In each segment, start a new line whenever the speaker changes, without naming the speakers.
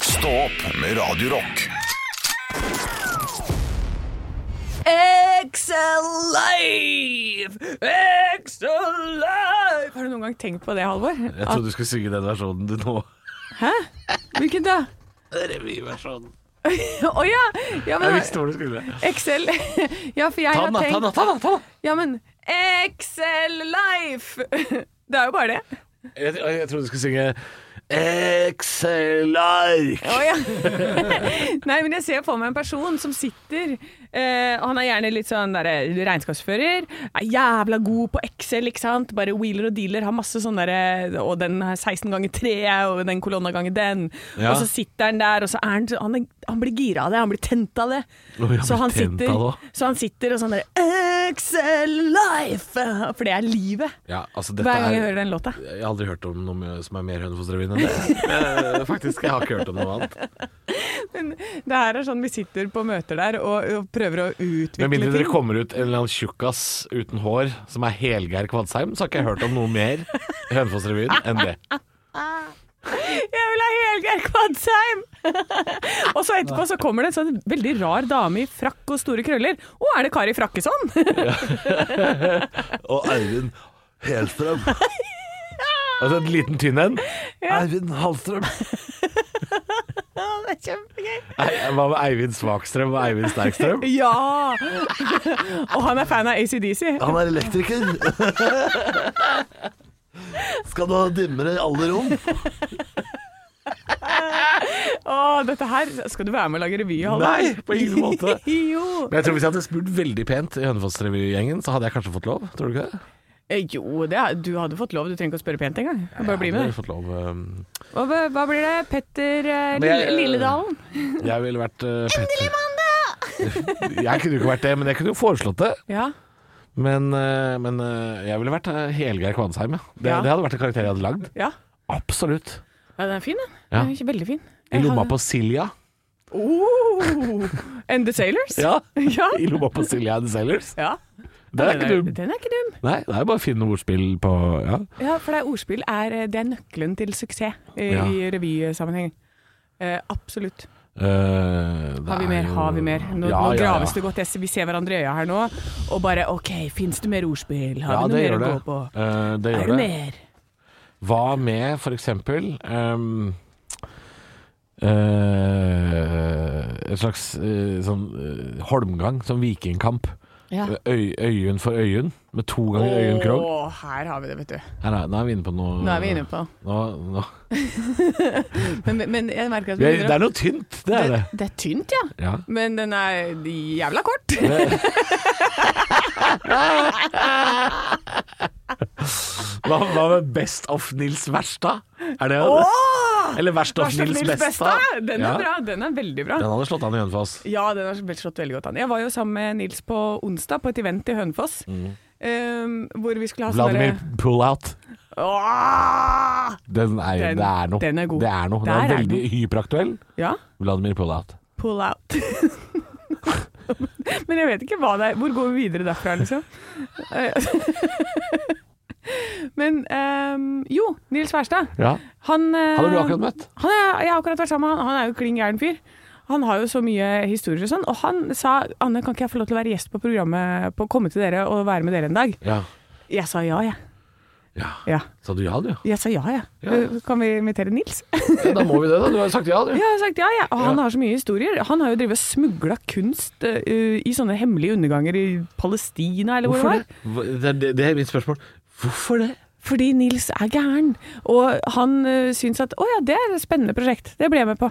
Stå opp med Radio Rock.
Ex-alive! Ex-alive! Har du noen gang tenkt på det, Halvor?
Jeg trodde du skulle synge den versjonen du nå
At- Hvilken da?
Revyversjonen.
Å ja! ja
Jeg
men,
visste hvor du skulle.
Excel Ja, for jeg
Ta
har
den, da! ta
tenkt
den, da, ta den, ta den.
Ja, men Excel-life! Det er jo bare det.
Jeg, jeg, jeg trodde du skulle synge Excel-like.
Å ja. Nei, men jeg ser for meg en person som sitter eh, og Han er gjerne litt sånn der, regnskapsfører. Er jævla god på Excel, ikke sant. Bare wheeler og dealer. Har masse sånn derre Og den er 16 ganger 3, og den kolonna ganger den.
Ja.
Og så sitter han der, og så er han Han, er, han blir gira av det. Han blir tent av det.
Oi, han
så,
blir
han
tent
sitter,
av det
så han sitter og sånn derre Excel life! For det er livet.
Ja, altså, dette
Hver gang jeg
er-
hører den låta.
Jeg har aldri hørt om noe som er mer Hønefoss-revyen enn det. Eh, Faktisk, jeg har ikke hørt om noe annet.
Men det her er sånn vi sitter på møter der og, og prøver å utvikle
Med mindre
ting.
dere kommer ut en eller annen tjukkas uten hår som er Helgeir Kvadsheim, så har ikke jeg hørt om noe mer i Hønefoss-revyen enn det.
Jeg vil ha Helgeir Kvadsheim! og så etterpå så kommer det en sånn veldig rar dame i frakk og store krøller. Å, er det Kari Frakkesson?
Og Eivind Helstrøm. Altså en liten tynn en. Eivind Halstrøm.
det er kjempegøy.
Ei- Hva med Eivind Svakstrøm og Eivind Sterkstrøm?
Ja! og han er fan av ACDC.
Han er elektriker. Skal du ha dimmere i alle rom?
Å, dette her Skal du være med og lage revy? Halvor?
Nei, på ingen måte.
jo.
Men jeg tror Hvis jeg hadde spurt veldig pent i Hønefoss-revygjengen, så hadde jeg kanskje fått lov. Tror du ikke det?
Eh, Jo, det, er- du hadde fått lov. Du trenger ikke å spørre pent engang. Bare bli
Jeg
med.
hadde fått lov. um,
Og hva, hva blir det? Petter eh,
Men jeg-
Lille, Lilledalen?
Jeg ville vært uh, Endelig mandag! jeg kunne jo ikke vært det, men jeg kunne jo foreslått det.
Ja.
Men, eh, men eh, jeg ville vært uh, Helgeir Kvadsheim. Ja. Det,
Ja.
det hadde vært en karakter jeg hadde lagd.
ja.
Absolutt.
Ja, den er fin, den.
Ja.
Den er Veldig fin.
I lomma på Silja.
Oh, and The Sailors?
Ja.
ja.
I lomma på Silja and the Sailors.
Ja.
Det er ikke dum.
Den er ikke dum.
Nei, det er bare å finne noe ordspill på ja.
Ja, for det er ordspill er, eh, det er nøkkelen til suksess eh,
Ja.
i revysammenheng. Eh, absolutt.
Eh, det
Har vi
er
mer?
jo-
Har vi mer? Nå,
Ja,
nå
ja,
graves
ja.
det godt. Jeg ser- Vi ser hverandre i øya her nå og bare OK, fins det mer ordspill? Har
Ja,
vi
det
noe mer
gjør
å
det.
gå på?
Eh, det
Er
gjør
det
det.
mer?
Hva med for eksempel ehm, eh, En slags eh, sånn eh, holmgang, sånn vikingkamp.
Ja.
Øy, øyun for øyun, med to ganger Øyunn Krogh.
Å, her har vi det, vet du.
Her er- Nå er vi inne på noe
Nå er vi inne på
Nå, nå.
Men, men jeg merker at
Vi
vi
er, det
begynner å-
er noe tynt, det er det.
det, det er tynt, ja.
Ja.
Men den er jævla kort.
Hva, hva med Best of Nils Verstad? Er det
Åh!
Eller Verst of
Lars
Nils
Nils
Besta?
Den
Ja.
er bra. Den er veldig bra.
Den hadde slått an i Hønefoss.
Ja, den har vel slått veldig godt an. Jeg var jo sammen med Nils på onsdag på et event i Hønefoss. ehm, hvor vi skulle ha sånn
Vladimir
derre-
Pullout.
Åh!
Den er,
Den-
det er noe.
den er god.
Det er noe. Den
Der
er
er
veldig hyperaktuell.
Ja,
Vladimir Pullout.
pull out. Men jeg vet ikke hva det er. Hvor går vi videre derfra, liksom? Eh, Men ehm, jo, Nils Wærstad.
Ja.
Han eh,
Hadde du akkurat møtt?
Han er, jeg har akkurat vært sammen med han. Han er jo klin gæren fyr. Han har jo så mye historier og sånn. Og han sa 'Anne, kan ikke jeg få lov til å være gjest på programmet, på å komme til dere og være med dere en dag?'
Ja.
Jeg sa ja, jeg.
ja.
Ja.
Sa du ja, du?
Jeg sa ja, jeg.
Ja.
Kan vi invitere Nils?
Ja, da må vi det, da. Du har jo sagt ja, du.
Ja, jeg har sagt ja, jeg. Og han
Ja.
har så mye historier. Han har jo drevet og smugla kunst eh, i sånne hemmelige underganger i Palestina, eller hvor
Hvorfor
det
det?
var.
Hva- Det er, det- det er mitt spørsmål. Hvorfor det?
Fordi Nils er gæren. Og han uh, syns at 'Å ja, det er et spennende prosjekt. Det blir jeg med på'.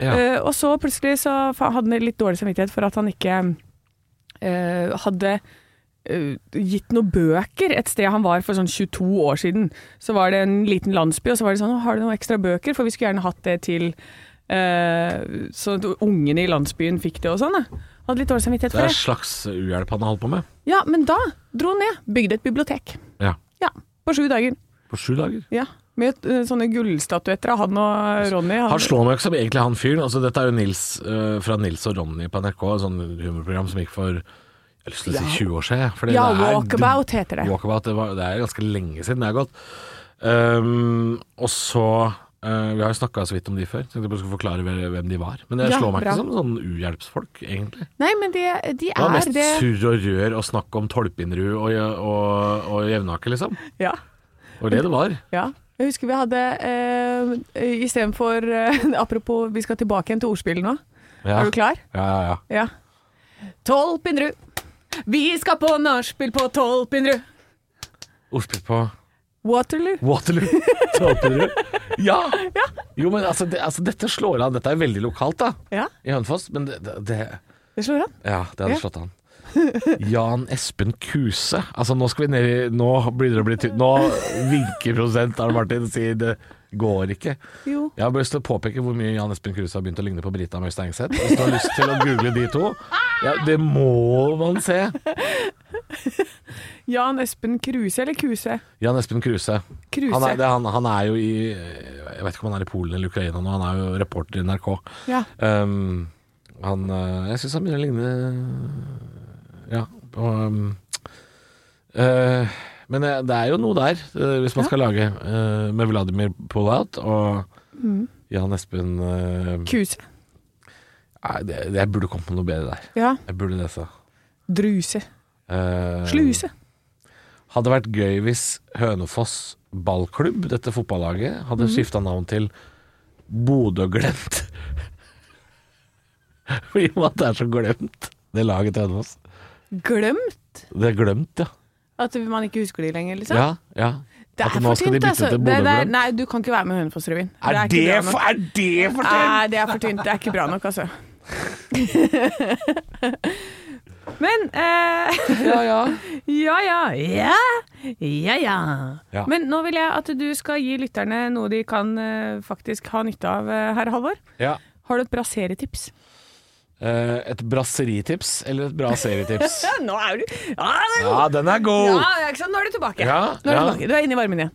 Eh, og så plutselig så fa- hadde han litt dårlig samvittighet for at han ikke eh, hadde eh, gitt noen bøker et sted han var for sånn 22 år siden. Så var det en liten landsby, og så var det sånn «Å, 'Har du noen ekstra bøker?' For vi skulle gjerne hatt det til eh, Sånn at ungene i landsbyen fikk det og sånn. da. Han Hadde litt dårlig samvittighet
Det er
for
en
det.
slags uhjelp han har holdt på med.
Ja, men da dro han ned. Bygde et bibliotek.
Ja.
Ja, På sju dager.
På sju dager.
Ja. Med eh, sånne gullstatuetter av han og Ronny. Han-
Han slår meg ikke som egentlig han fyren. Altså, dette er jo Nils eh, fra Nils og Ronny på NRK, et sånn humorprogram som gikk for jeg har lyst til å si 20 år siden. fordi
ja,
det er-
Walkabout heter det.
Walkabout, det, var, det er ganske lenge siden det har gått. Ehm, og så Eh, vi har jo snakka så vidt om de før. Tenkte jeg bare skulle forklare hve- hvem de var. Men jeg
Ja,
slår meg
bra.
ikke som sånn uhjelpsfolk, egentlig.
Nei, men de, de
Det var
er
mest
det
surr og rør og snakk om Tolpinrud og, og, og Jevnaker, liksom.
Ja.
Og det det var.
ja. Jeg husker vi hadde eh, istedenfor eh, Apropos, vi skal tilbake igjen til ordspillet nå.
Ja.
Er du klar?
Ja, ja, ja.
Ja. Tolpinrud. Vi skal på nachspiel på Tolpinrud.
Ordspill på
Waterloo.
Waterloo. Tolpinrud. Ja! Jo, men altså, det, altså, dette slår an. Dette er veldig lokalt, da.
Ja,
I Hønefoss. Men det, det, det
det slår an.
Ja, det hadde
Ja.
slått an. Jan Espen Kuse. Altså, nå skal vi ned i Nå begynner det å bli tynt. Nå vinker produsent Arne Martin sier det går ikke.
Jo.
Jeg har bare lyst til å påpeke hvor mye Jan Espen Kruse har begynt å ligne på Brita Møystein Engseth. Hvis du har lyst til å google de to, ja, det må man se.
Jan Espen Kruse, eller Kuse?
Jan Espen Kruse.
Kruse.
Han er, det, er han, han er jo i Jeg vet ikke om han er i Polen eller Ukraina nå, han er jo reporter i NRK.
Ja.
Um, han eh, Jeg syns han begynner å ligne Ja. På, um, eh, men eh, det er jo noe der, eh, hvis man skal lage eh, med Vladimir Pullout og
Mm.
Jan Espen eh,
Kuse.
nei, det, Jeg burde kommet på noe bedre der.
Ja.
Jeg burde det, så.
Druse.
Eh,
Sluse.
Hadde vært gøy hvis Hønefoss ballklubb, dette fotballaget, hadde skiftet skifta navn til Bodø Glemt. I og med at det er så glemt, det laget til Hønefoss.
Glemt
Det er glemt, ja.
at man ikke husker de lenger, liksom.
ja, ja.
Det
At
er
nå
for
skal de
tynt,
bytte
altså.
til
Det,
Bodø
det er,
Glemt.
nei, du kan ikke være med i Hønefoss-revyen.
Er
ikke
det,
bra
for,
nok.
er det for
Nei, det er for tynt. Det er ikke bra nok, altså. Men eh,
Ja, ja.
Ja, ja. Ja, ja, ja.
Ja.
Men nå vil jeg at du skal gi lytterne noe de kan eh, faktisk ha nytte av, eh, herr Halvor.
ja.
Har du et bra serietips?
Eh, et brasseritips eller et bra serietips?
Ja, nå er du Ja, det er god.
Ja, den er god!
Ja, ikke sant? Nå er du tilbake.
Ja,
Nå er du,
ja.
tilbake. du er inne i varmen igjen.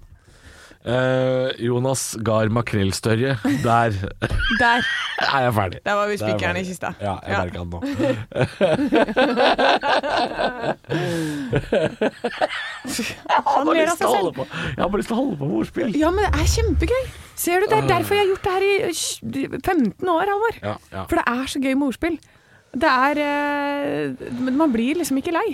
Eh, Jonas Gahr Makrellstørje, der
Der.
er jeg ferdig.
Der var vi
Der var
spikeren i
det.
kista.
Ja, jeg
Ja.
merka den nå.
Han
Jeg har
ler av
lyst til å
seg
holde
selv.
på Jeg har bare lyst til å holde på med ordspill.
Ja, men det er kjempegøy. Ser du, det er derfor jeg har gjort det her i eh, sj- 15 år, Halvor.
Ja, ja,
For det er så gøy med ordspill. Det er eh, Men man blir liksom ikke lei.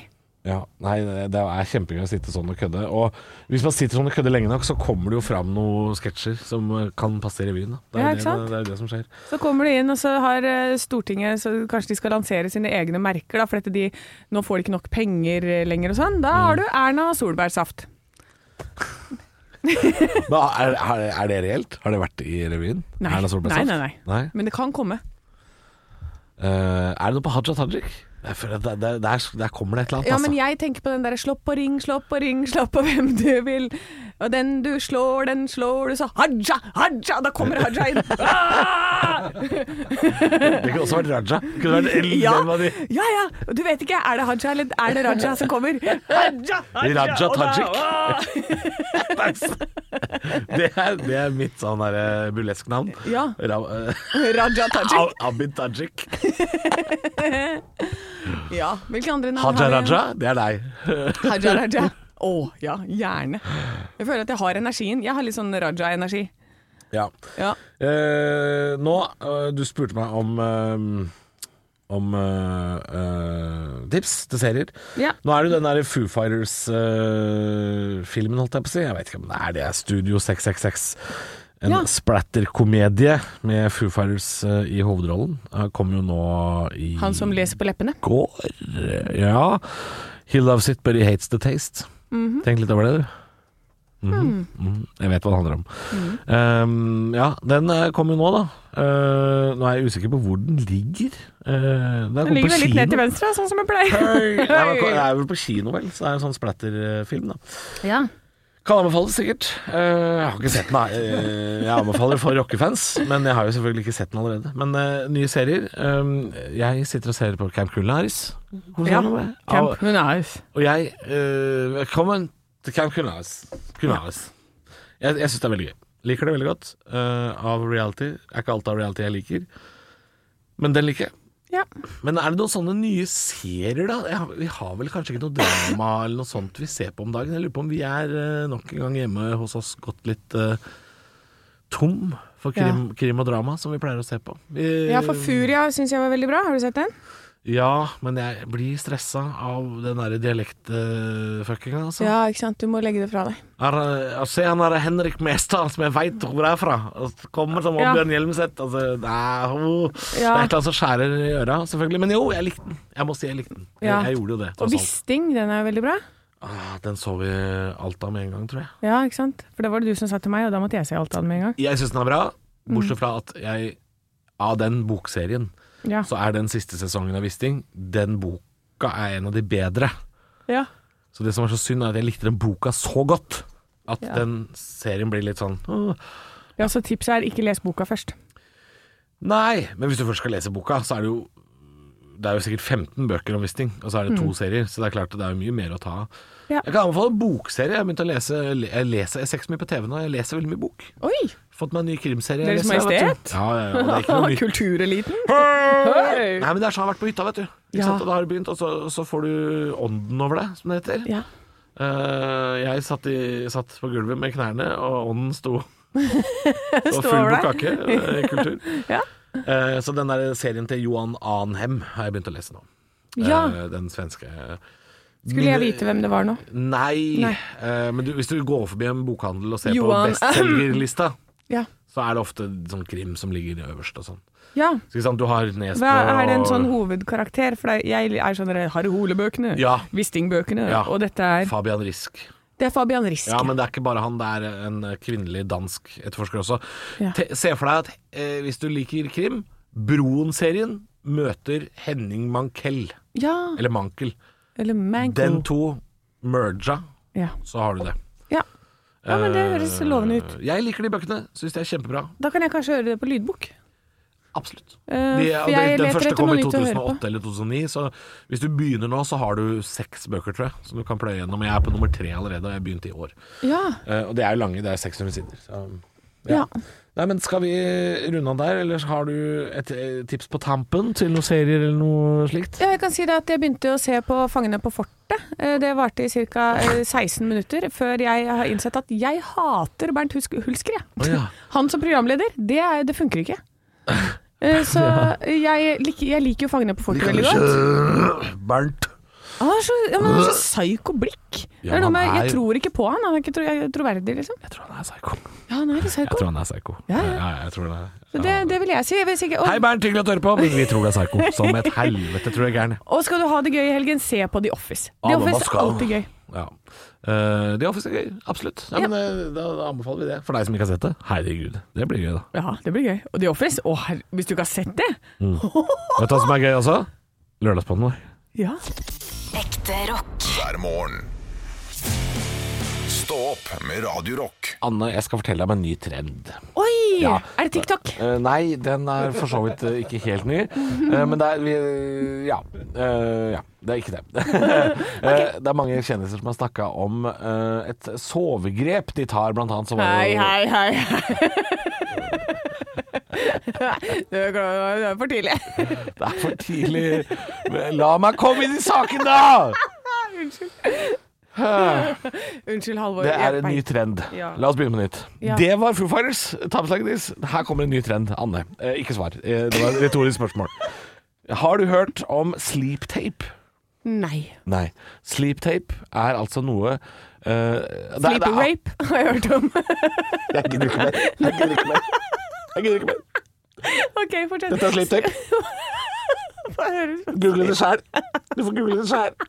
ja. Nei, det er kjempegøy å sitte sånn og kødde. Og hvis man sitter sånn og kødder lenge nok, så kommer det jo fram noen sketsjer som kan passe i revyen. Da. Det
Ja,
er
ikke
jo
sant?
det, det, er jo det som skjer.
Så kommer de inn, og så har eh, Stortinget så Kanskje de skal lansere sine egne merker, da, for dette de, nå får de ikke nok penger eh, lenger og sånn. Da har du Erna solbærsaft.
Men er, er, er det reelt? Har det vært i revyen?
Nei.
Erna Solberg
Nei,
Saft?
nei, nei. Men det kan komme.
Eh, er det noe på Haja Tajik? Jeg føler at Der, der, der, der kommer det et eller annet,
Ja, men jeg tenker på den der slå på ring, slå på ring, slå på hvem du vil. Og den du slår, den slår du, så Haja, Haja! Da kommer Haja inn. Ah!
altså. Det kunne også vært Raja. Det Kunne vært en
Ja.
av de
Ja ja, og du vet ikke, er det Haja eller er det Raja som kommer? Haja, Haja!
Raja
og da-
Tajik.
Ah!
det er, det er mitt sånn derre burlesk navn.
Ja.
Ra- eh,
Raja Tajik.
Abid Tajik.
Ja, hvilke andre navn
Haja
har vi?
Raja, det er deg.
Haja Raja. Å ja, gjerne. Jeg føler at jeg har energien. Jeg har litt sånn Raja-energi.
Ja.
Ja.
Eh, nå, eh, du spurte meg om eh, om eh, eh, tips til serier.
Ja.
Nå er det jo den der Foo Fighters-filmen, holdt jeg på å si. Jeg vet ikke om det er det. Studio 666. En
Ja.
splatterkomedie med Foo Fighters eh, i hovedrollen. Eh, Kom jo nå i
Han som leser på leppene.
går. eh, Ja. He loves it, but he hates the taste. Tenk litt over det, du.
Hmm.
Mhm. Mhm. Jeg vet hva det handler om.
Mhm.
Um, ja, den eh, kom jo nå, da. Eh, nå er jeg usikker på hvor den ligger. Uh, den
Den
kom på
ligger vel litt
kino.
ned til venstre, sånn som jeg pleier.
Hei! Nei, men Det er vel på kino, vel. Så det er en sånn splatterfilm, da.
Ja.
Kan anbefales, sikkert. Eh, jeg har ikke sett den, nei. Eh, jeg anbefaler for rockefans, men jeg har jo selvfølgelig ikke sett den allerede. Men eh, nye serier. Eh, jeg sitter og ser på Camp Culinaris. Hvordan
Ja,
er det med? Av-
Camp Munaus.
og jeg eh, Velkommen til Camp Kunaris. Kunaris. Jeg, jeg syns det er veldig gøy. Liker det veldig godt. eh, av reality. Er ikke alt av reality jeg liker, men den liker jeg.
Ja.
Men er det noen sånne nye serier, da? Jeg, har- vi har vel kanskje ikke noe drama eller noe sånt vi ser på om dagen. Jeg lurer på om vi er eh, nok en gang hjemme hos oss gått litt eh, tom for krim, krim og drama, som vi pleier å se på. Vi-
Ja, for Furia syns jeg var veldig bra. Har du sett den?
Ja, men jeg blir stressa av den derre dialektfuckinga, altså.
Ja, ikke sant. Du må legge det fra deg.
Her, eh, altså, han er Henrik Mestad, som jeg veit hvor er fra. og så Kommer som
Ja.
Oddbjørn Hjelmseth. Altså, nei, ho. Det
Ja.
er et eller annet som skjærer i øra, selvfølgelig. Men jo, jeg likte den. Jeg må si jeg likte den. Jeg,
Ja.
jeg gjorde jo det.
Og
tross alt.
Wisting, den er jo veldig bra.
Ah, den så vi alt av med en gang, tror jeg.
Ja, ikke sant. For det var det du som sa til meg, og da måtte jeg se alt av den med en gang.
Jeg syns den er bra,
Mm.
bortsett fra at jeg Av den bokserien,
Ja.
så er den siste sesongen av Wisting Den boka er en av de bedre.
ja.
Så det som er så synd, er at jeg likte den boka så godt at
Ja.
den serien blir litt sånn «Åh,
ja så tipset er ikke les boka først.
Nei, men hvis du først skal lese boka, så er det jo Det er jo sikkert 15 bøker om Wisting, og så er det to serier, så det er klart det er jo mye mer å ta av.
Mm. Ja.
Jeg kan anbefale en bokserie. Jeg har begynt å lese Jeg leser jeg ser ikke så mye på TV nå, jeg leser veldig mye bok.
Oi! Fått
Fått meg en ny krimserie.
Deres
jeg leser, vet
Majestet?
du. Ja, ja, ja, og det er ikke noe nytt.
Kultureliten.
Nei, men det er sånn jeg har vært på hytta, vet du. Ikke
Ja.
sant? Og da har det begynt, og så, så får du ånden over deg, som det heter.
Ja.
Eh, jeg satt, i, satt på gulvet med knærne, og ånden sto Og
Sto
full
over deg.
bukkake. eh, Kultur.
Ja.
Eh, så den der serien til Johan Anhem har jeg begynt å lese nå.
ja.
Eh, den svenske
Skulle jeg vite hvem det var nå?
Nei,
Nei.
Eh, men du, hvis du går forbi en bokhandel og ser
Johan
på bestselgerlista,
Ja.
så er det ofte sånn krim som ligger øverst og sånn.
ja.
Så ikke sant, du har Nesbø
Hva er det en
og-
sånn hovedkarakter? For det- jeg er sånn der, Harry Hole-bøkene,
Ja.
Wisting-bøkene,
Ja.
og dette er
Fabian Risk.
Det er Fabian Riske.
Ja, men det er ikke bare han, det er en eh, kvinnelig dansk etterforsker også.
Ja.
Te se for deg at eh, hvis du liker krim, Broen-serien møter Henning Mankell,
Ja,
eller Mankel.
Eller Manco.
Den to merga,
Ja.
så har du det.
ja. Ja, men det høres
Eh,
lovende ut.
Jeg liker de bøkene, syns de er kjempebra.
Da kan jeg kanskje høre det på lydbok.
Absolutt.
Eh,
De,
for
og de,
jeg
den
leter
første
etter
kom
noe
i
nytt å høre på.
2008 eller 2009, så hvis du begynner nå, så har du seks bøker, tror jeg, som du kan pløye gjennom. Jeg er på nummer tre allerede, og jeg begynte i år.
Ja.
Eh, og det er jo lange, det er 600 sider. Så,
ja.
Nei, men Skal vi runde av der, eller har du et eh, tips på tampen til noen serier eller noe slikt?
Ja, jeg kan si det at jeg begynte å se på Fangene på fortet. Eh, Det varte i ca. 16 minutter før jeg har innsett at jeg hater Bernt Husk Hulsker. jeg.
Å ja.
Han som programleder, det, er, det funker ikke. Eh, Så jeg, lik- jeg liker jo Fangene på fortet veldig godt.
Bernt.
Han har så, ja, men han har så psyko blikk. Det
Ja,
er noe
han
med,
er
jeg
jo-
tror ikke på han, han er ikke tro, jeg er troverdig, liksom.
Jeg tror han er psyko.
Ja, han er litt
Jeg
psyko.
tror han er psyko.
Ja, ja.
jeg tror det er.
Så det, det vil jeg si. Jeg vil sikkert,
Hei,
og,
Bernt, hyggelig at du hører på, men vi tror det er psyko. Som et helvete, tror jeg er gæren.
og skal du ha det gøy i helgen, se på The Office. The
Ja, Ah, men hva
Office er
skal-
alltid gøy.
Ja. Eh, The Office er gøy, absolutt. Ja,
Ja.
Men, eh, da, da anbefaler vi det. For deg som ikke har sett det, herregud, det blir gøy, da.
Ja, det blir gøy. Og The Office, å, herre- hvis du ikke har sett det
Vet du hva som er gøy også? Lørdagspodden vår.
Ja.
Ekte rock.
hver morgen. Stå opp med Radio Rock.
Anne, jeg skal fortelle deg om en ny trend.
Oi!
Ja.
Er det TikTok?
Eh, nei, den er for så vidt eh, ikke helt ny. Eh, men det er vi, ja, Eh, ja. Det er ikke det. Eh, det er mange kjendiser som har snakka om eh, et sovegrep de tar, blant annet. Som
Hei, hei, hei. Det er klart, det er for tidlig.
Det er for tidlig. La meg komme inn i saken, da!
Unnskyld, Halvor.
Det er
hjelp
en
meg.
ny trend.
Ja.
La oss begynne på nytt.
Ja.
Det var Foo Fighters. Tapslaget deres. Her kommer en ny trend. Anne, eh, ikke svar. Eh, det var et retorisk spørsmål. Har du hørt om sleep tape?
Nei.
Nei. Sleep tape er altså noe eh, det er-
Sleep rape har jeg hørt om.
Det er, jeg gidder ikke mer. Jeg gidder ikke mer. Jeg gidder ikke mer.
OK, fortsett.
Dette er sleep tape.
Hva høres det?
Google det sjæl. Du får google det sjæl.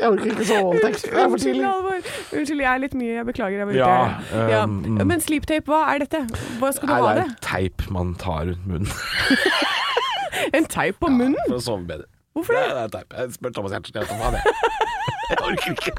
Jeg orker ikke så voldtekt. Det er for
Unnskyld,
tidlig.
Halvor. Unnskyld, jeg er litt mye. Jeg beklager. Jeg var ute.
Ja,
ja.
um,
Men sleeptape, hva er dette? Hva skal du
Nei,
ha
det
det?
er teip man tar rundt munnen
En teip på munnen?
for å sove bedre.
Hvorfor
Nei,
det?
det er teip. Jeg spør Thomas Giertsen. Jeg vet hva faen jeg Jeg orker ikke.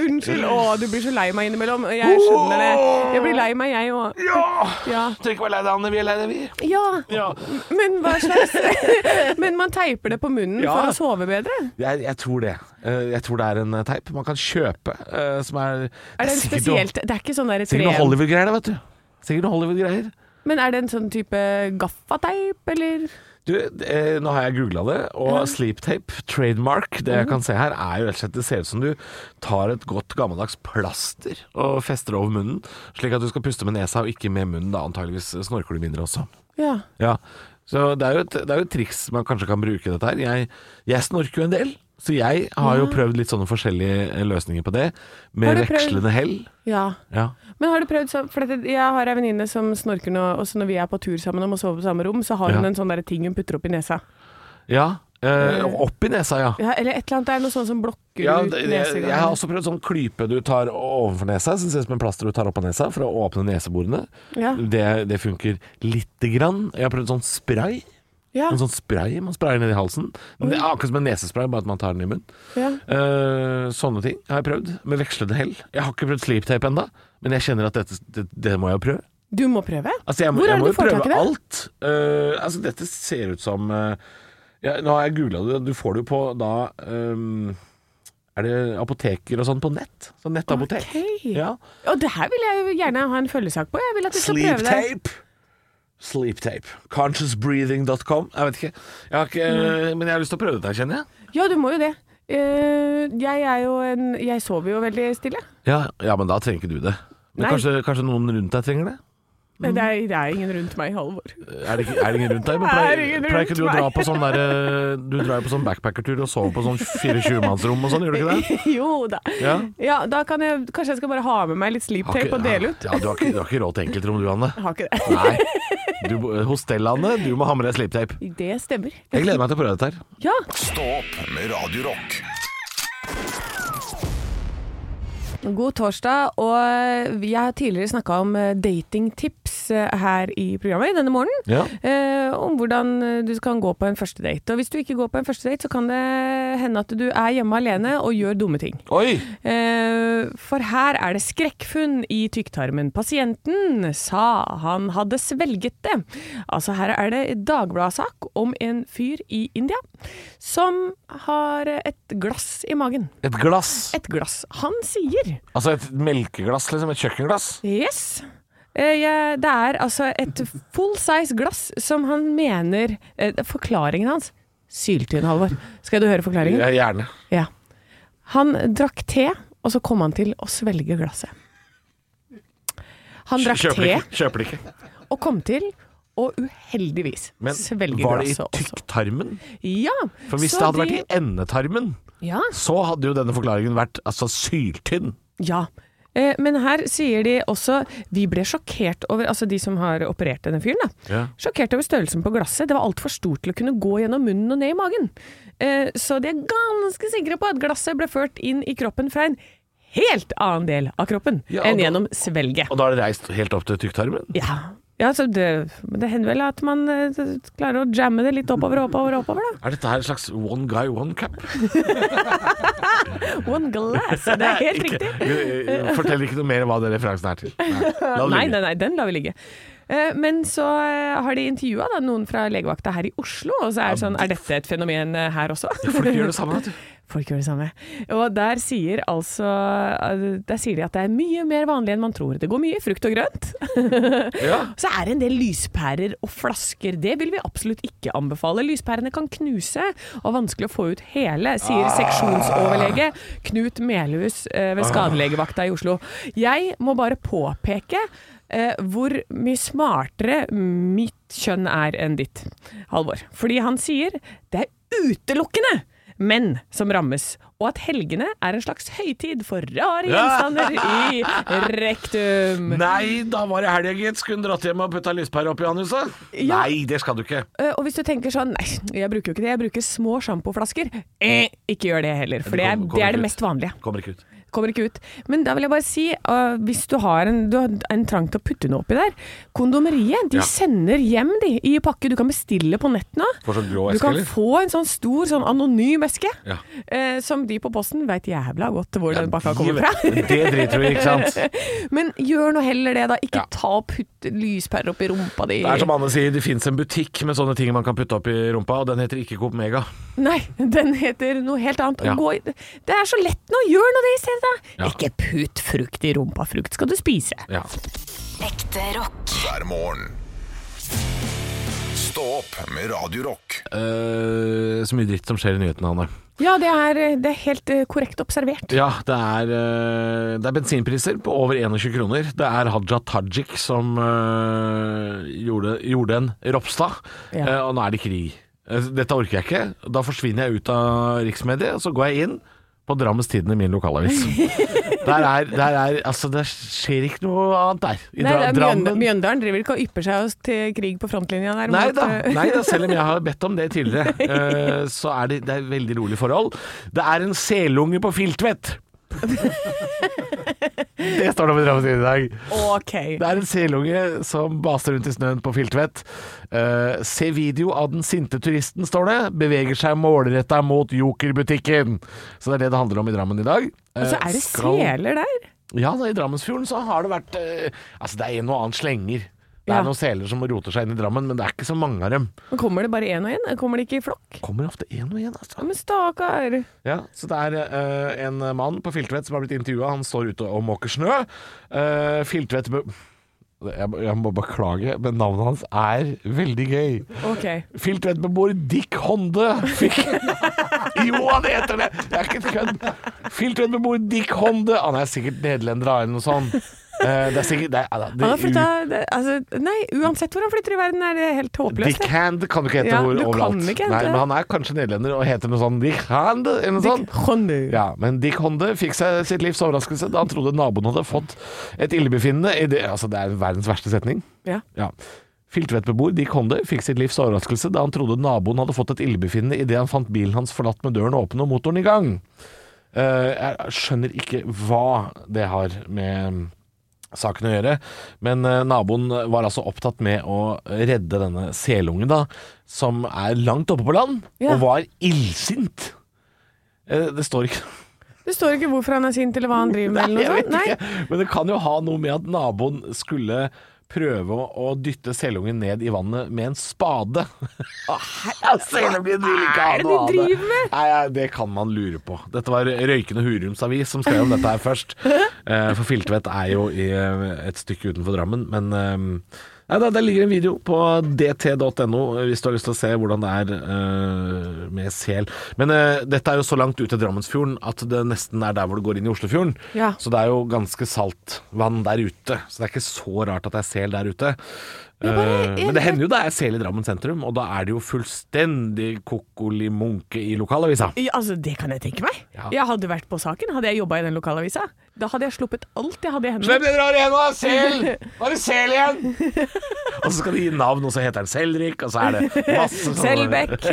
Unnskyld. Å, du blir så lei meg innimellom. Jeg skjønner det. Jeg blir lei meg, jeg òg.
Ja!
Ja.
Trenger ikke være lei deg, Anne. Vi er lei deg, vi.
ja.
Ja.
Men hva slags Men man teiper det på munnen
Ja.
for å sove bedre?
Jeg, jeg tror det. Eh, Jeg tror det er en eh, teip man kan kjøpe, eh, som
Er
er
det en
sikkert noe-
spesielt Det er ikke sånn derre
Sikkert noe
krem
Hollywood-greier, da, vet du. Sikkert noe Hollywood-greier.
Men er det en sånn type gaffateip, eller?
Du, eh, nå har jeg googla det, og sleep tape, trademark, det
Mhm.
jeg kan se her, er jo rett og slett Det ser ut som du tar et godt gammeldags plaster og fester det over munnen, slik at du skal puste med nesa og ikke med munnen, da antageligvis snorker du mindre også.
Ja.
Ja, så det er jo et, det er jo et triks man kanskje kan bruke dette her. Jeg, jeg snorker jo en del, så jeg har jo prøvd litt sånne forskjellige eh, løsninger på det,
Har
med
du prøvd-
vekslende hell.
ja.
Ja.
Men har du prøvd sånn For dette, jeg har ei venninne som snorker nå, også når vi er på tur sammen og må sove på samme rom, så har
Ja.
hun en sånn der ting hun putter opp i nesa.
ja. Eh, opp i nesa, ja.
Ja, eller et eller annet. Det er noe sånt som blokker
Ja,
ut
det- jeg,
nesegangen.
jeg har også prøvd sånn klype du tar overfor nesa, som ser ut som en plaster du tar opp av nesa for å åpne neseborene.
Ja.
Det, det funker lite grann. Jeg har prøvd sånn spray.
ja.
En sånn spray man sprayer ned i halsen. Det er akkurat som en nesespray, bare at man tar den i munnen.
ja.
Eh, sånne ting har jeg prøvd, med vekslende hell. Jeg har ikke prøvd sleeptape ennå, men jeg kjenner at dette, det, det må jeg prøve.
Du må prøve?
Altså, jeg, må-
Hvor er
jeg
det
må
du
jo
får tak i
prøve
det?
alt. Eh, altså, dette ser ut som eh, ja, Nå har jeg googla det. Du får det jo på da ehm, Er det apoteker og sånn på nett? Sånn nettapotek.
Ok.
Ja.
Og det her vil jeg jo gjerne ha en følgesak på. Jeg vil at du skal prøve det.
Sleeptape. Sleeptape. Consciousbreathing.com. Jeg vet ikke. Jeg har ikke
Mm.
eh, men jeg har lyst til å prøve dette, kjenner jeg.
Ja, du må jo det. Eh, jeg er jo en Jeg sover jo veldig stille.
Ja, ja men da trenger ikke du det.
Nei.
Men kanskje, kanskje noen rundt deg trenger det?
Det, er, det er ingen rundt meg, Halvor.
Er det, ikke- er det ingen rundt deg? Men
Det er
pleier,
ingen
pleier ikke
rundt
du å dra
meg.
på sånn derre Du drar jo på sånn backpackertur og sover på sånn 24-mannsrom og sånn, gjør du ikke det?
jo da.
Ja.
da kan jeg Kanskje jeg skal bare ha med meg litt
Har ikke-
sleeptape og dele ut.
Ja, du har ikke, du har ikke råd til enkeltrom du, Anne.
Jeg har ikke det.
Nei. Du, hostellene, du må ha med deg sleeptape.
Det stemmer.
Jeg gleder meg til å prøve dette her.
Ja.
Stå opp med Radio Rock.
God torsdag, og vi har tidligere snakka om eh, datingtips eh, her i programmet denne morgenen.
Ja.
Eh, om hvordan eh, du kan gå på en første date. Og hvis du ikke går på en første date, så kan det hende at du er hjemme alene og gjør dumme ting.
Oi!
Eh, for her er det skrekkfunn i tykktarmen. Pasienten sa han hadde svelget det. Altså her er det dagbladsak om en fyr i India som har et glass i magen.
Et glass.
Et glass. Han sier
Altså et melkeglass, liksom. Et kjøkkenglass.
yes. Eh, jeg- det er altså et full size glass som han mener eh, Forklaringen hans Syltynn, Halvor. Skal du høre forklaringen?
Ja, gjerne.
Ja. Han drakk te, og så kom han til å svelge glasset. Han drakk
Kjøper det
te
ikke. Kjøper det ikke.
og kom til å uheldigvis
Men
svelge
var det
glasset
i
også.
tykktarmen?
Ja,
For hvis
så
det hadde vært
de-
i endetarmen,
ja,
så hadde jo denne forklaringen vært altså syltynn.
ja. Eh, Men her sier de også Vi ble sjokkert over Altså de som har operert denne fyren, da.
Ja.
Sjokkert over størrelsen på glasset. Det var altfor stort til å kunne gå gjennom munnen og ned i magen. Eh, Så de er ganske sikre på at glasset ble ført inn i kroppen fra en helt annen del av kroppen
Ja, og
enn
da-
gjennom svelget.
Og da har det reist helt opp til tykktarmen?
Ja. ja så det, men det hender vel at man eh, klarer å jamme det litt oppover og oppover, og oppover, da.
Er dette her en slags one guy, one cup?
One glass, det er helt
Ikke- eh,
riktig.
Fortell ikke noe mer om hva den referansen er til. Nei, la det
Nei,
ligge.
nei, nei, den lar vi ligge. Eh, Men så eh, har de intervjua noen fra legevakta her i Oslo, og så er det sånn Er dette et fenomen eh, her også?
Folk gjør det samme, vet du.
Folk gjør det samme. Og der sier altså Der sier de at det er mye mer vanlig enn man tror. Det går mye i frukt og grønt.
Ja.
Så er det en del lyspærer og flasker. Det vil vi absolutt ikke anbefale. Lyspærene kan knuse og er vanskelig å få ut hele, sier seksjonsoverlege Knut Melhus eh, ved skadelegevakta i Oslo. Jeg må bare påpeke eh, hvor mye smartere mitt kjønn er enn ditt, Halvor. Fordi han sier det er utelukkende menn som rammes, og at helgene er en slags høytid for rare gjenstander i rektum.
Nei, da var det helga, gitt. Skulle dratt hjem og putta lyspære opp i anhuset.
Ja.
Nei, det skal du ikke.
Eh, Og hvis du tenker sånn Nei, jeg bruker jo ikke det, jeg bruker små sjampoflasker. Eh, ikke gjør det heller, for det er
Kom- kommer
det, er
ikke
det
ut.
mest vanlige.
Kommer ikke ut.
Kommer ikke ut. Men da vil jeg bare si, eh, hvis du har en, du har en trang til å putte noe oppi der Kondomeriet de
Ja.
sender hjem de i pakke. Du kan bestille på nett nå.
Får sånn grå
Du
eske,
kan
eller?
få en sånn stor, sånn anonym eske,
Ja.
eh, som de på posten veit jævla godt hvor den pakka
de
kommer fra.
vet- Det driter vi i, ikke sant? Det
Men gjør nå heller det, da. Ikke
Ja.
ta og putt lyspærer oppi rumpa di.
er som Anne sier, det fins en butikk med sånne ting man kan putte opp i rumpa, og den heter ikke Coop Mega.
Nei, den heter noe helt annet.
Ja.
Gå i, det er så lett nå, gjør nå det i stedet!
Ja.
da Ikke putt frukt i rumpa, frukt skal du spise.
Ja.
Ekte rock.
hver morgen. Stå opp med Radio Rock.
Eh, så mye dritt som skjer i nyhetene, Hanne.
Ja, det er, det er helt eh, korrekt observert.
Ja, det er, eh, det er bensinpriser på over 21 kroner. Det er Haja Tajik som eh, gjorde, gjorde en Ropstad,
Ja.
eh, og nå er det krig. Eh, Dette orker jeg ikke. Da forsvinner jeg ut av riksmediet, og så går jeg inn på Drammens Tidende, min lokalavis. der er, der er, altså, det skjer ikke noe annet der. I
Nei,
Dra-
det er Mjøndalen,
Drammen-
Mjøndalen driver ikke og ypper seg oss til krig på frontlinja der.
Nei
mot,
da,
eh,
nei da, selv om jeg har bedt om det tidligere, eh, så er det, det er veldig rolig forhold. Det er en selunge på Filtvet! Det står det på Drammensiden i dag.
Ok.
Det er en selunge som baser rundt i snøen på Filtvet. Eh, se video av den sinte turisten, står det. Beveger seg målretta mot Jokerbutikken. Så det er det det handler om i Drammen i dag. Eh,
Og så er det seler der.
Ja, da, i Drammensfjorden så har det vært eh, Altså, det er en og annen slenger. Det er
Ja.
noen seler som roter seg inn i Drammen, men det er ikke så mange av dem.
Men kommer det bare én og én? Kommer det ikke i flokk?
kommer ofte én og én.
Ja,
Altså.
men stakkar.
Ja, så det er eh, en mann på Filtvet som har blitt intervjua. Han står ute og måker snø. Eh, Filtvet be jeg, må- jeg må beklage, men navnet hans er veldig gøy.
Ok.
Filtvet-beboer Dick Honde fikk Jo, han heter det! Det er ikke et kødd. Filtvet-beboer Dick Honde Han er sikkert nederlender eller noe sånt. Eh, det er sikkert det, er- det,
Han har
er
flytta det- altså, Nei, uansett hvor han flytter i verden, er det helt håpløst.
Dick
det.
Hand kan du ikke hete
Ja,
hvor-
du kan
overalt.
ikke hete
Nei,
det.
men han er kanskje nederlender og heter noe sånn Dick Hand eller noe sånn. sånt.
Dick Hondu.
Ja, men Dick Honde fikk seg sitt livs overraskelse da han trodde naboen hadde fått et illebefinnende i det, altså det er verdens verste setning.
Ja.
Ja. Filtvetbeboer Dick Honde fikk sitt livs overraskelse da han trodde naboen hadde fått et illebefinnende idet han fant bilen hans forlatt med døren åpen og motoren i gang. Eh, jeg skjønner ikke hva det har med mm, saken å gjøre, men eh, naboen var altså opptatt med å redde denne selungen, da, som er langt oppe på land,
Ja.
og var illsint. Eh, det står ikke
Det står ikke hvorfor han er sint eller hva han driver med.
Nei,
eller noe
jeg
sånt.
vet ikke. Men det kan jo ha noe med at naboen skulle prøve å- å dytte selungen ned i vannet med en spade. Selungen vil ikke ha
er det
noe av
de
det.
driver med?
Nei, nei, det kan man lure på. Dette var Røykende Hurums avis som skrev om dette her først. Eh, For Filtvet er jo i eh, et stykke utenfor Drammen, men eh, Nei da, Der ligger en video på dt.no eh, hvis du har lyst til å se hvordan det er eh, med sel. Men eh, dette er jo så langt ute i Drammensfjorden at det nesten er der hvor det går inn i Oslofjorden.
Ja.
Så det er jo ganske salt vann der ute. Så det er ikke så rart at det er sel der ute. Eh, men det hender jo det er sel i Drammen sentrum, og da er det jo fullstendig kokkoli munke i lokalavisa.
Ja, altså, det kan jeg tenke meg.
Ja.
Jeg hadde vært på saken, hadde jeg jobba i den lokalavisa. Da hadde jeg sluppet alt jeg hadde i hendene.
Slipp det drar igjen, da! Sel! Nå er det sel igjen! og så skal de gi navn, og så heter den Selrik, og så er det masse sånne-
Selbekk.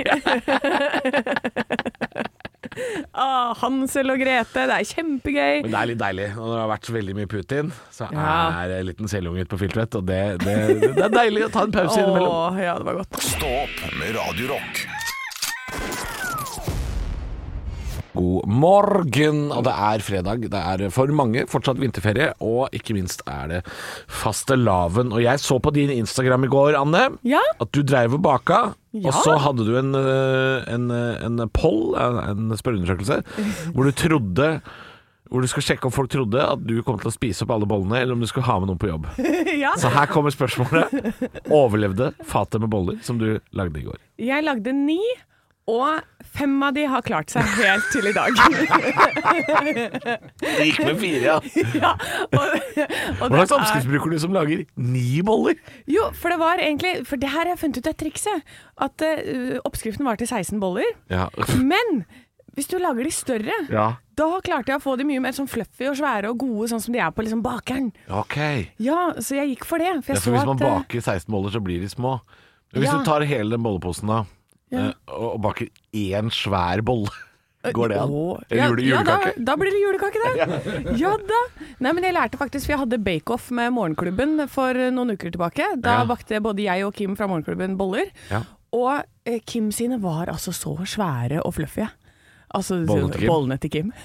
ah, Hansel og Grete, det er kjempegøy.
Men det er litt deilig. Og når det har vært så veldig mye Putin, så
Ja.
er det en liten selunge ute på Filtvet, og det, det, det er deilig å ta en pause innimellom.
Åh, ja, det var godt.
Stå opp med Radio Rock.
God morgen, og det er fredag. Det er for mange fortsatt vinterferie, og ikke minst er det fastelavn. Og jeg så på din Instagram i går, Anne,
Ja.
at du dreiv og baka.
Ja.
Og så hadde du en, øh, en, øh, en poll, en en spørreundersøkelse, hvor du trodde hvor du skulle sjekke om folk trodde at du kom til å spise opp alle bollene, eller om du skulle ha med noen på jobb.
ja.
Så her kommer spørsmålet. Overlevde fatet med boller som du lagde i går?
Jeg lagde ni, og fem av de har klart seg helt til i dag.
Det gikk med fire, ja.
ja, og, og det
Hva slags
er-
oppskrift bruker du som lager ni boller?
Jo, for det var egentlig For det her har jeg funnet ut et triks, jeg. At eh, oppskriften var til 16 boller.
Ja.
Men hvis du lager de større, da klarte jeg å få de mye mer sånn fluffy og svære og gode, sånn som de er på liksom bakeren.
Ok.
Ja, så jeg gikk for det. For
Ja,
jeg
for hvis
så
man
at eh,
baker 16 boller, så blir de små. Men hvis
Ja.
du tar hele den bolleposen da, eh, og og baker én svær bolle, går det an?
Åh,
Eller jule- julekake?
Ja, da, da blir det julekake, det. Ja da. Nei, men jeg lærte faktisk, for jeg hadde bake-off med morgenklubben for eh, noen uker tilbake. Da
Ja.
bakte både jeg og Kim fra morgenklubben boller.
Ja.
Og eh, Kim sine var altså så svære og fluffy. Altså
Bollene til Kim?
bollene til Kim.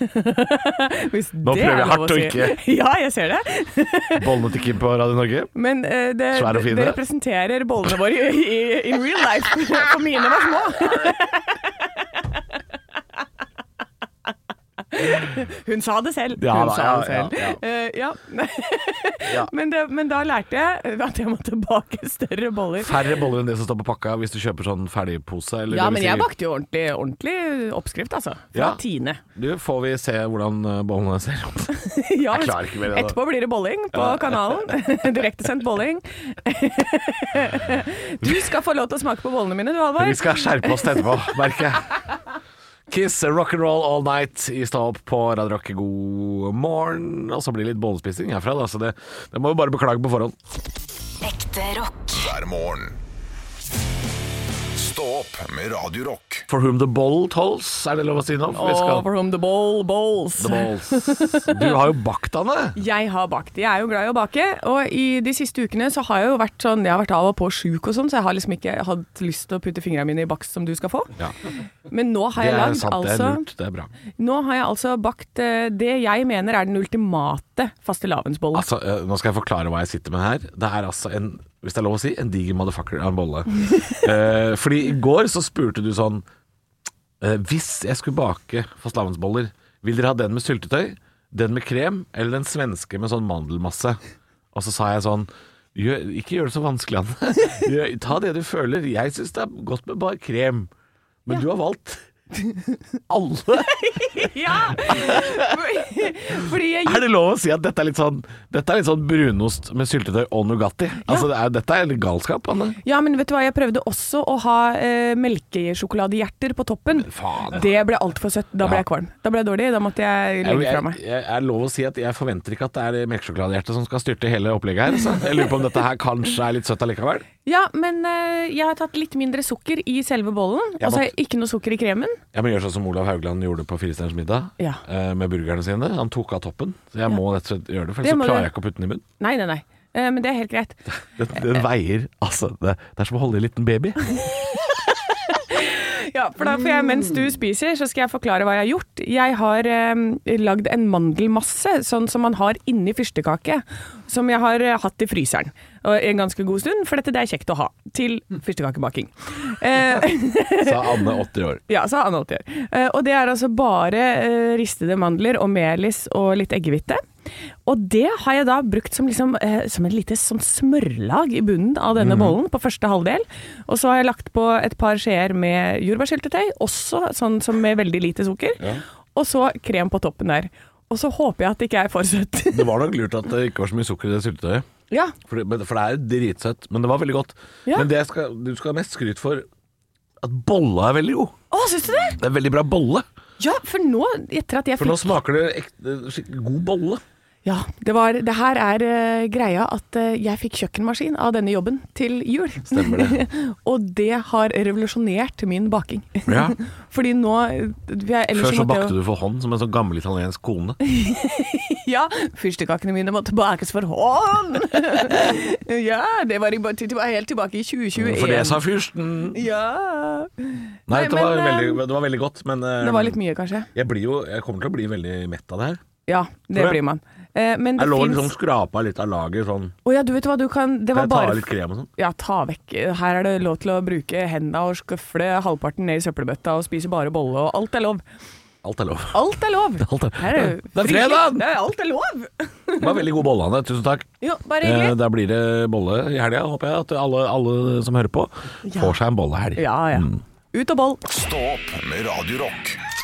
Hvis
Nå
det
prøver
er
jeg
lov
hardt å
si.
ikke-
Ja, jeg ser det.
Bollene til Kim på Radio Norge?
Men eh, det,
Svære og fine.
det representerer bollene våre i, i, i real life. For mine var små. Hun sa det selv.
Ja
Hun
da,
sa
ja,
det selv.
ja,
Eh, ja.
Ja.
men, det, men da lærte jeg at jeg måtte bake større boller.
Færre boller enn det som står på pakka hvis du kjøper sånn ferdigpose. Eller
Ja,
det vil
men
si-
jeg bakte jo ordentlig, ordentlig oppskrift, altså. Fra
Ja.
Tine.
Du, får vi se hvordan eh, bollene ser ut.
Ja,
Jeg
men
klarer ikke mer, jeg, da.
Etterpå blir det bolling på kanalen. Direktesendt bolling. Du skal få lov til å smake på bollene mine, du Halvor.
Vi skal skjerpe oss etterpå, merker jeg. Kiss rock'n'roll all night i Stå opp på Radio Rock. God morgen. Og så blir det litt bollespising herfra, da, så det, det må vi bare beklage på forhånd.
Ekte rock.
hver morgen. Stå opp med Radio Rock.
For whom the ball tolls, er det lov å si nå? For vi skal-
Over whom the ball bowls.
The balls. Du har jo bakt, Anne.
Jeg har bakt. Jeg er jo glad i å bake, og i de siste ukene så har jeg jo vært sånn Jeg har vært av og på sjuk og sånn, så jeg har liksom ikke hatt lyst til å putte fingrene mine i bakst som du skal få.
Ja,
Men nå har
det
jeg
er
lagd
sant. Det er
altså
lurt. Det er bra.
Nå har jeg altså bakt eh, det jeg mener er den ultimate fastelavnsbollen.
Altså, eh, nå skal jeg forklare hva jeg sitter med her. Det er altså en, hvis det er lov å si, en diger motherfucker av en bolle. Eh, fordi i går så spurte du sånn eh, Hvis jeg skulle bake fastelavnsboller, vil dere ha den med syltetøy, den med krem eller den svenske med sånn mandelmasse? Og så sa jeg sånn gjør, Ikke gjør det så vanskelig, Anne. Gjør- Ta det du føler. Jeg syns det er godt med bare krem. Men du har valgt alle.
Ja! Fordi jeg
Altså- Er det lov å si at dette er litt sånn Dette er litt sånn brunost med syltetøy og Nugatti? Altså, det er, dette er litt galskap, Anne.
Ja, men vet du hva, jeg prøvde også å ha eh, melkesjokoladehjerter på toppen.
Faen.
Det ble altfor søtt. Da ble
Ja.
jeg kvalm. Da ble jeg dårlig. Da måtte jeg
Jeg,
legge fra
jeg,
meg.
jeg er lov å si at jeg forventer ikke at det er melkesjokoladehjertet som skal styrte hele opplegget her. Så jeg lurer på om dette her kanskje er litt søtt allikevel.
Ja, men eh, jeg har tatt litt mindre sukker i selve bollen. Og
Jeg
så har
måtte-
jeg ikke noe sukker i kremen.
Jeg må gjøre sånn som Olav Haugland gjorde på Firestjerners middag,
Ja.
eh, med burgerne sine. Han tok av toppen. Så jeg må rett og slett gjøre det, for
Det
ellers
må
så
du.
klarer jeg ikke å putte den i munnen.
Nei, nei, nei. Eh, men det er helt greit.
Den, den veier Altså, det, det er som å holde i en liten baby.
Ja, for da får jeg, mens du spiser, så skal jeg forklare hva jeg har gjort. Jeg har eh, lagd en mandelmasse, sånn som man har inni fyrstekake. Som jeg har eh, hatt i fryseren og en ganske god stund, for dette det er kjekt å ha til fyrstekakebaking. Eh,
Sa Anne, 80 år.
ja, sa Anne Oppgjør. Eh, og det er altså bare eh, ristede mandler og melis og litt eggehvite. Og det har jeg da brukt som, liksom, eh, som et lite sånn smørlag i bunnen av
Mhm.
denne bollen på første halvdel. Og så har jeg lagt på et par skjeer med jordbærsyltetøy, også sånn som med veldig lite sukker. Og så krem på toppen der. Og så håper jeg at det ikke er for søtt.
Det var nok lurt at det ikke var så mye sukker i det syltetøyet.
ja.
For, men- for det er jo dritsøtt, men det var veldig godt.
Ja.
Men det jeg skal, du skal ha mest skryt for at bolla er veldig god.
Å, syns du det?
Det er en veldig bra bolle.
Ja, for nå, etter at jeg
For
fikk
nå smaker det ekte, skikkelig god bolle.
Ja, det, var, det her er eh, greia at eh, jeg fikk kjøkkenmaskin av denne jobben til jul.
Stemmer det.
og det har revolusjonert min baking.
Ja.
Fordi nå jeg,
Før så bakte du for hånd som en sånn gammel italiensk kone.
Ja, fyrstekakene mine måtte bakes for hånd! ja, det var, i, det var helt tilbake i 2021.
For det sa fyrsten.
Ja
Nei,
Nei,
det var,
men,
veldig, det var veldig godt, men eh,
Det var litt mye, kanskje.
jeg, blir jo, jeg kommer til å bli veldig mett av det her.
Ja, det
Tror jeg.
blir man. Eh, Men det
Jeg lå
fins
liksom skrapa litt av laget sånn.
Å ja, du vet hva, du kan Det
Kan
var
jeg ta av
bare
litt krem og sånn?
Ja, ta vekk. Her er det lov til å bruke hendene og skøfle halvparten ned i søppelbøtta og spise bare bolle, og alt er lov.
Alt er lov.
Alt er lov!
Alt er,
Her er det
det er
fri-
fredag!
Det er alt er lov!
Det var veldig god bolle, Anne. Tusen takk.
Jo, bare
Eh,
hyggelig.
da blir det bolle i helga, håper jeg. At alle, alle som hører på,
Ja.
får seg en bollehelg.
Ja, ja. Ut og boll.
Stå opp med Radio Rock.